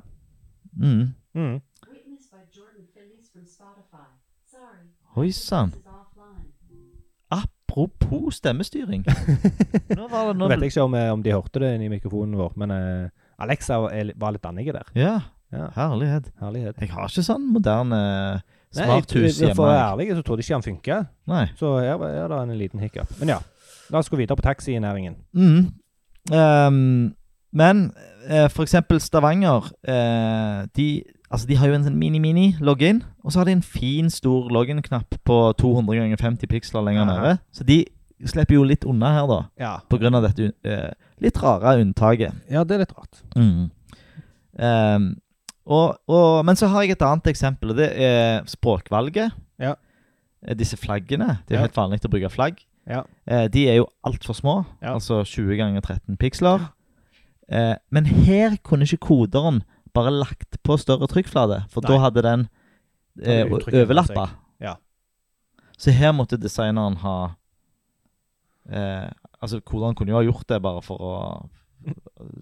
Mm. Mm. Witnessed by Jordan Phillies from Spotify. Sorry, Oi sann. this is offline. Apropos stemmestyring. Nå var det Nå nå vet jeg ikke om, eh, om de hørte det inn i mikrofonen vår, men eh, Alexa er, li- var litt annerledes der. Ja, Ja, herlighet. herlighet. Jeg har ikke sånn moderne Nei, smarthus jeg- jeg- hjemme. For å være jeg. ærlig så trodde jeg ikke han funka, Nei. så her var- her er det en liten hiccup. Men ja, la oss gå videre på taxinæringen. Mm. Ehm, men eh, for eksempel Stavanger eh, de, altså de har jo en sånn mini-mini-login, og så har de en fin, stor login-knapp på 200 ganger 50 piksler lenger Aha. nede. Så de slipper jo litt unna her, da, Ja. på grunn av dette eh, litt rare unntaket. ja, det er litt rart. Mm. Ehm, og, og, men så har jeg et annet eksempel, og det er språkvalget. Ja. Eh, Disse flaggene. Det er jo Ja. helt vanlig å bruke flagg. Ja. Eh, de er jo altfor små, Ja. altså 20 ganger 13 piksler. Eh, men her kunne ikke koderen bare lagt på større trykkflate, for Nei. da hadde den eh, Da hadde uttrykket overlappa. seg. Ja. Så her måtte designeren ha eh, Altså, koderen kunne jo ha gjort det bare for å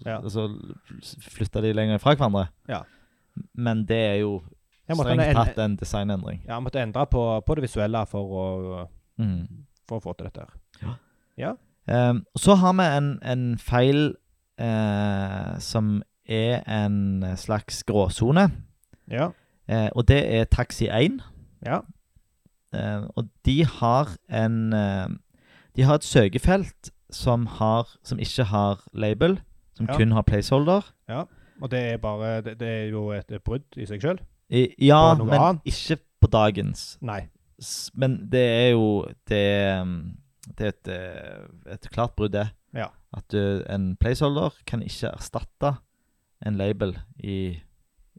Ja. Altså flytte de lenger fra hverandre. Ja. Men det er jo Jeg måtte, strengt en, tatt en designendring. ja, jeg måtte endre på, på det visuelle for å, Mm. for å få til dette. her. Ehm, og så har vi en, en feil eh, som er en slags gråsone, Ja. eh, og det er Taxi 1. Ja. Eh, og de har en eh, De har et søkefelt som, har, som ikke har label, som Ja. kun har placeholder. Og det er, bare, det, det er jo et brudd i seg sjøl. I, ja, På noe men annet? ikke på dagens. Nei. S- Men det er jo Det, er, um, det er et, eh, et klart brudd, det. Ja. At du, en placeholder kan ikke erstatte en label i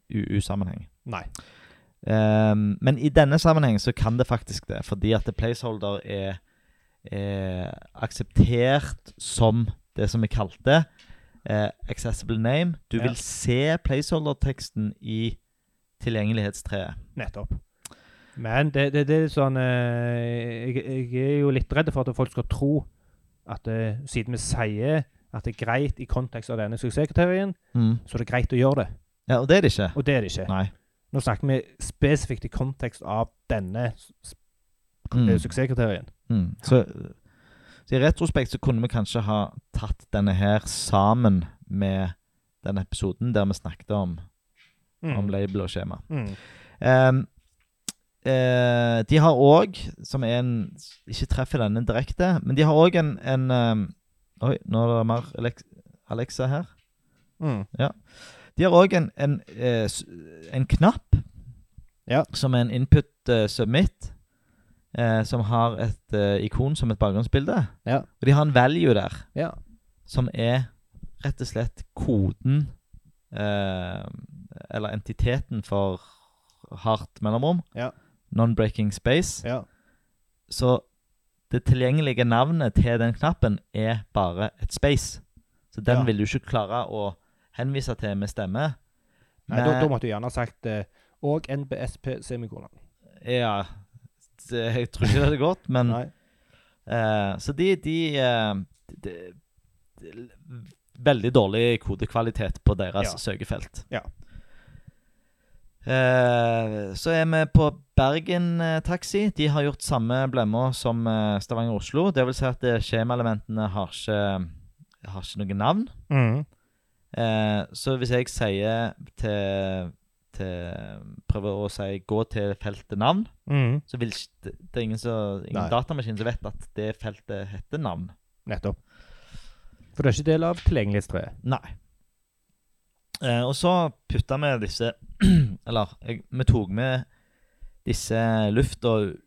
UU-sammenheng. Nei. Ehm, men i denne sammenheng så kan det faktisk det, fordi at placeholder er, er akseptert som det som er kalt det. eh, accessible name. Du Ja. vil se placeholder-teksten i tilgjengelighetstreet. Nettopp. Men det, det, det er litt sånn eh, jeg, jeg er jo litt redd for at folk skal tro at eh, siden vi sier at det er greit i kontekst av denne suksesskriterien, Mm. så er det greit å gjøre det. Ja, og det er det ikke. Og det er det ikke. Nei. Nå snakker vi spesifikt i kontekst av denne s- eh, s- Mm. suksesskriterien. Mm. Så, Så I retrospekt så kunne vi kanskje ha tatt denne her sammen med den episoden der vi snakket om, om label og skjema. Mm. Ehm, eh, de har òg, som er en Ikke treffer denne direkte, men de har òg en, en ehm, Oi, nå er det mer Alex, Alexa her. Mm. De har òg en, en, eh, s- en knapp Ja. som er en input eh, submit, eh, som har et eh, ikon som et bakgrunnsbilde. Ja. Og de har en value der Ja. som er rett og slett koden eh, Eller entiteten for hardt mellomrom. Ja. Non-breaking space. Ja. Så det tilgjengelige navnet til den knappen er bare et space. Så den Ja. vil du ikke klare å henvise til med stemme. Nei, da, da måtte du gjerne ha sagt eh, og NBSP semikolon. eh, Ja, det, jeg tror ikke det hadde gått, men Nei. eh, Så de, de, eh, de, de Veldig dårlig kodekvalitet på deres Ja. søkefelt. Ja. Eh, så er vi på Bergen eh, Taxi. De har gjort samme blemma som eh, Stavanger-Oslo. Det vil si at eh, skjemaelementene har ikke, har ikke noe navn. Mm. Eh, så hvis jeg sier til, til Prøver å si 'gå til feltet navn', Mm. så vil ikke det- det er ingen, så, Nei. ingen datamaskin som vet at det feltet heter navn. Nettopp. For det er ikke del av tilgjengelighetstreet. Nei. Eh, og så putta vi disse Eller jeg, vi tok med disse luft- og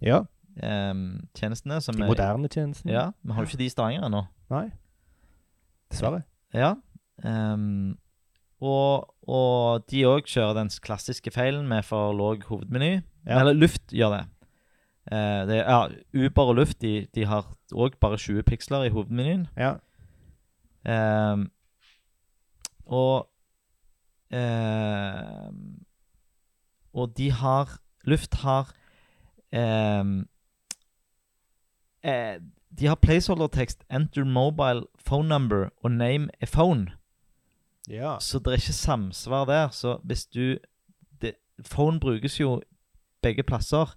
Ja. Uber-tjenestene. som De er- moderne tjenestene. Ja, Vi har jo ikke de i Stavanger ennå. Nei. Dessverre. Ja. ehm, og, og de òg kjører den klassiske feilen med for låg hovedmeny. Ja. Eller Luft gjør det. Eh, det ja, Uber og Luft de, de har òg bare 20 piksler i hovedmenyen. Ja. Ehm, og ehm, Og de har Luft har ehm, eh, De har placeholdertekst 'Enter mobile phone number' og 'name a phone'. Ja. Så det er ikke samsvar der. Så hvis du det, Phone brukes jo begge plasser,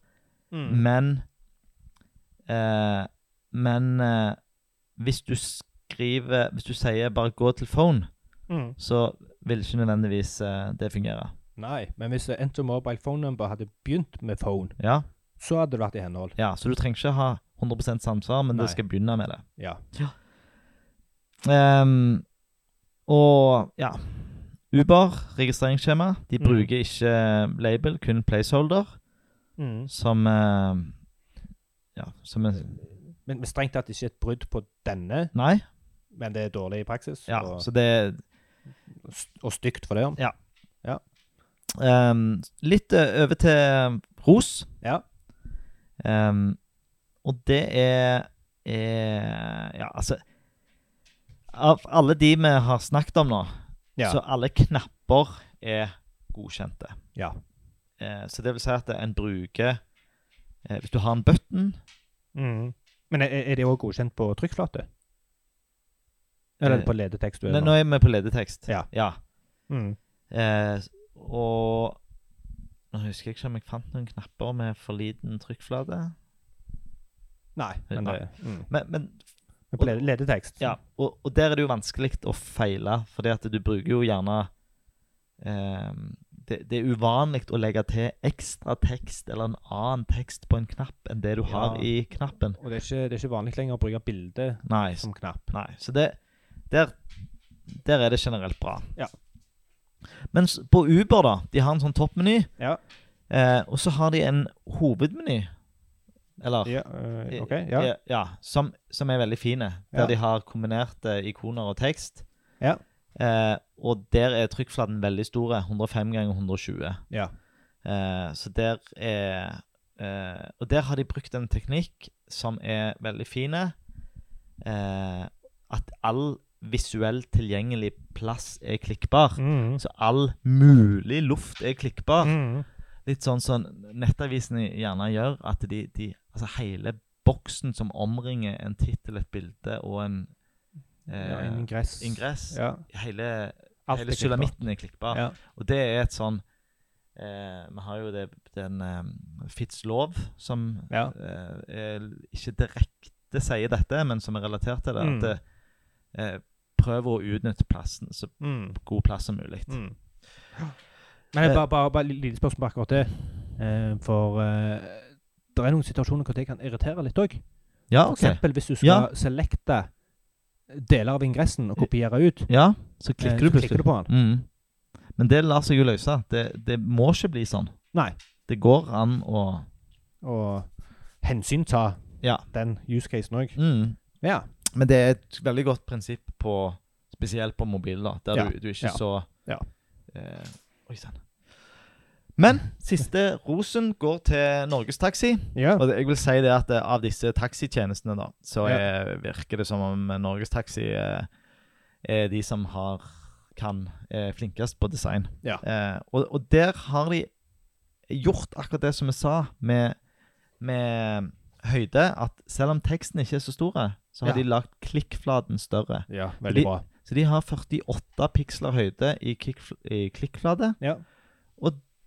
Mm. men eh, Men eh, hvis du skriver Hvis du sier bare 'gå til phone', Mm. så vil ikke nødvendigvis eh, det fungere. Nei, men hvis eh, Enter Mobile Phone Number hadde begynt med phone, Ja? så hadde det vært i henhold. ja så du trenger ikke ha 100 samsvar, men Nei. det skal begynne med det. Ja. Ehm, og ja Uber, registreringsskjema, de Mm. bruker ikke label, kun placeholder. Mm. Som eh, Ja, som en Men men strengt tatt ikke et brudd på denne, Nei. men det er dårlig i praksis. Ja, og, så det og stygt for det. om. ehm, Litt eh, over til ros. Ja. Ehm, og det er, er Ja, altså Av alle de vi har snakket om nå, Ja. så alle knapper er godkjente. Ja. Eh, så det vil si at en bruker eh, Hvis du har en button Mm. Men er, er det òg godkjent på trykkflate? Eller er det på ledetekst? du er Nå nå Eh. er nå? vi på ledetekst. Ja. ja. Mm. Eh, og Nå husker jeg ikke om jeg fant noen knapper med for liten trykkflate. Nei, men, Nei. Det, mm. Men, men men på led- ledetekst. ja, og, og der er det jo vanskelig å feile, fordi at du bruker jo gjerne eh, det, det er uvanlig å legge til ekstra tekst eller en annen tekst på en knapp enn det du har Ja. i knappen. Og det er, ikke, det er ikke vanlig lenger å bruke bilde Nei, som knapp. Nei, så det der, der er det generelt bra. Ja. Mens på Uber, da De har en sånn toppmeny. Ja. Eh, og så har de en hovedmeny. Eller Ja, øh, eh, OK. Ja. eh, som, som er veldig fine. Der Ja. de har kombinerte ikoner og tekst. Ja. Eh, og der er trykkflaten veldig stor. 105 ganger 120. ja. Eh, så der er eh, Og der har de brukt en teknikk som er veldig fin. Eh, at all visuell tilgjengelig plass er klikkbar. Mm. Så all mulig luft er klikkbar. Mm. Litt sånn som nettavisene gjerne gjør. At de, de Altså hele boksen som omringer en tittel, et bilde og en ja. eh, Ingress. ingress Ja. Hele, Alt hele er klikkbart. sulamitten er klikkbar. Ja. Og det er et sånn eh, Vi har jo det, den eh, Fitzlov, som Ja. eh, er ikke direkte ikke sier dette, men som er relatert til det. Mm. At eh, prøv å utnytte plassen så Mm. god plass som mulig. Mm. Men Eh. bare, bare, bare et lite spørsmål på akkurat det. Eh, for det er noen situasjoner hvor det kan irritere litt òg. Ja, For ok. eksempel hvis du skal Ja. selekte deler av ingressen og kopiere ut. Ja, så eh, klikker så du plutselig. klikker du på den. Mm. Men det lar seg jo løse. Det, det må ikke bli sånn. Nei. Det går an å Og hensynta Mm. Ja. den use casen òg. mm. Ja. Men det er et veldig godt prinsipp på Spesielt på mobil, da, der Ja, du, du er ikke ja, så ja. Eh, Oi sann. Men siste rosen går til Norgestaxi. ja. Og det- jeg vil si det at eh, av disse taxitjenestene, da, så Ja. eh, virker det som om eh, Norgestaxi eh, er de som har kan eh, flinkest på design. Ja. Eh, og, og der har de gjort akkurat det som vi sa med, med eh, høyde, at selv om teksten ikke er så stor, så har de Ja. lagd klikkflaten større. ja. De- Veldig bra. Så de har 48 piksler høyde i, kikkf i klikkflate. Ja.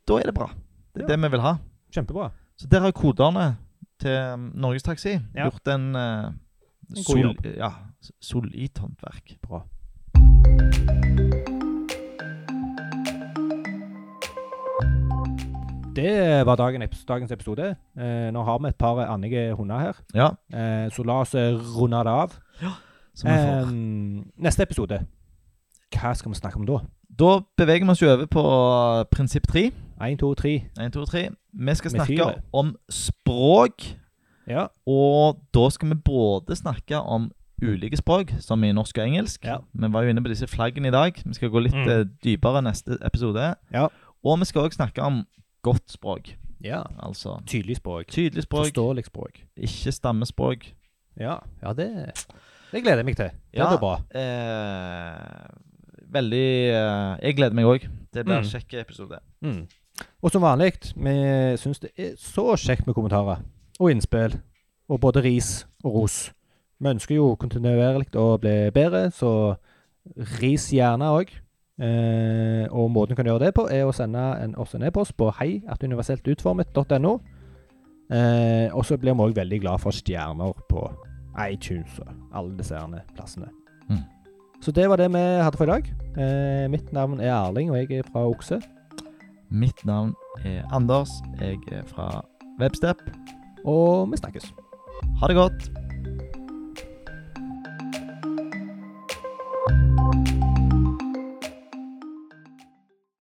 Da er det bra. Det er Ja. det vi vil ha. Kjempebra. Så der har koderne til um, Norges Taxi Ja. gjort en, eh, god sol, jobb. ja, s- solid håndverk. Bra. Det var dagen, eps- dagens episode. Eh, nå har vi et par andige hunder her, Ja, eh, så la oss eh, runde det av. som vi får. Eh. Em, neste episode, hva skal vi snakke om da? Da beveger vi oss jo over på uh, prinsipp tre. Én, to, tre. Én, to, tre. Vi skal snakke Med fire. om språk, Ja. og da skal vi både snakke om ulike språk, som i norsk og engelsk. Ja. Vi var jo inne på disse flaggene i dag. Vi skal gå litt Mm. eh, dypere neste episode. Ja. Og vi skal òg snakke om godt språk. ja. Altså Tydelig språk. tydelig språk, Forståelig språk. ikke stammespråk. Ja, ja det, det gleder jeg meg til. Det Ja. blir bra. Eh, veldig eh, Jeg gleder meg òg. Det blir en Mm. kjekk episode. Mm. Og som vanlig, vi syns det er så kjekt med kommentarer og innspill. Og både ris og ros. Vi ønsker jo kontinuerlig å bli bedre, så ris gjerne òg. Eh, og måten du kan gjøre det på, er å sende en, oss en e-post på heiatuniverseltutformet.no. Eh, og så blir vi òg veldig glad for stjerner på iTunes og alle disse herne plassene. Mm. Så det var det vi hadde for i dag. Eh, mitt navn er Erling, og jeg er fra Okse. Mitt navn er Anders. Jeg er fra Webstep. Og vi snakkes. Ha det godt.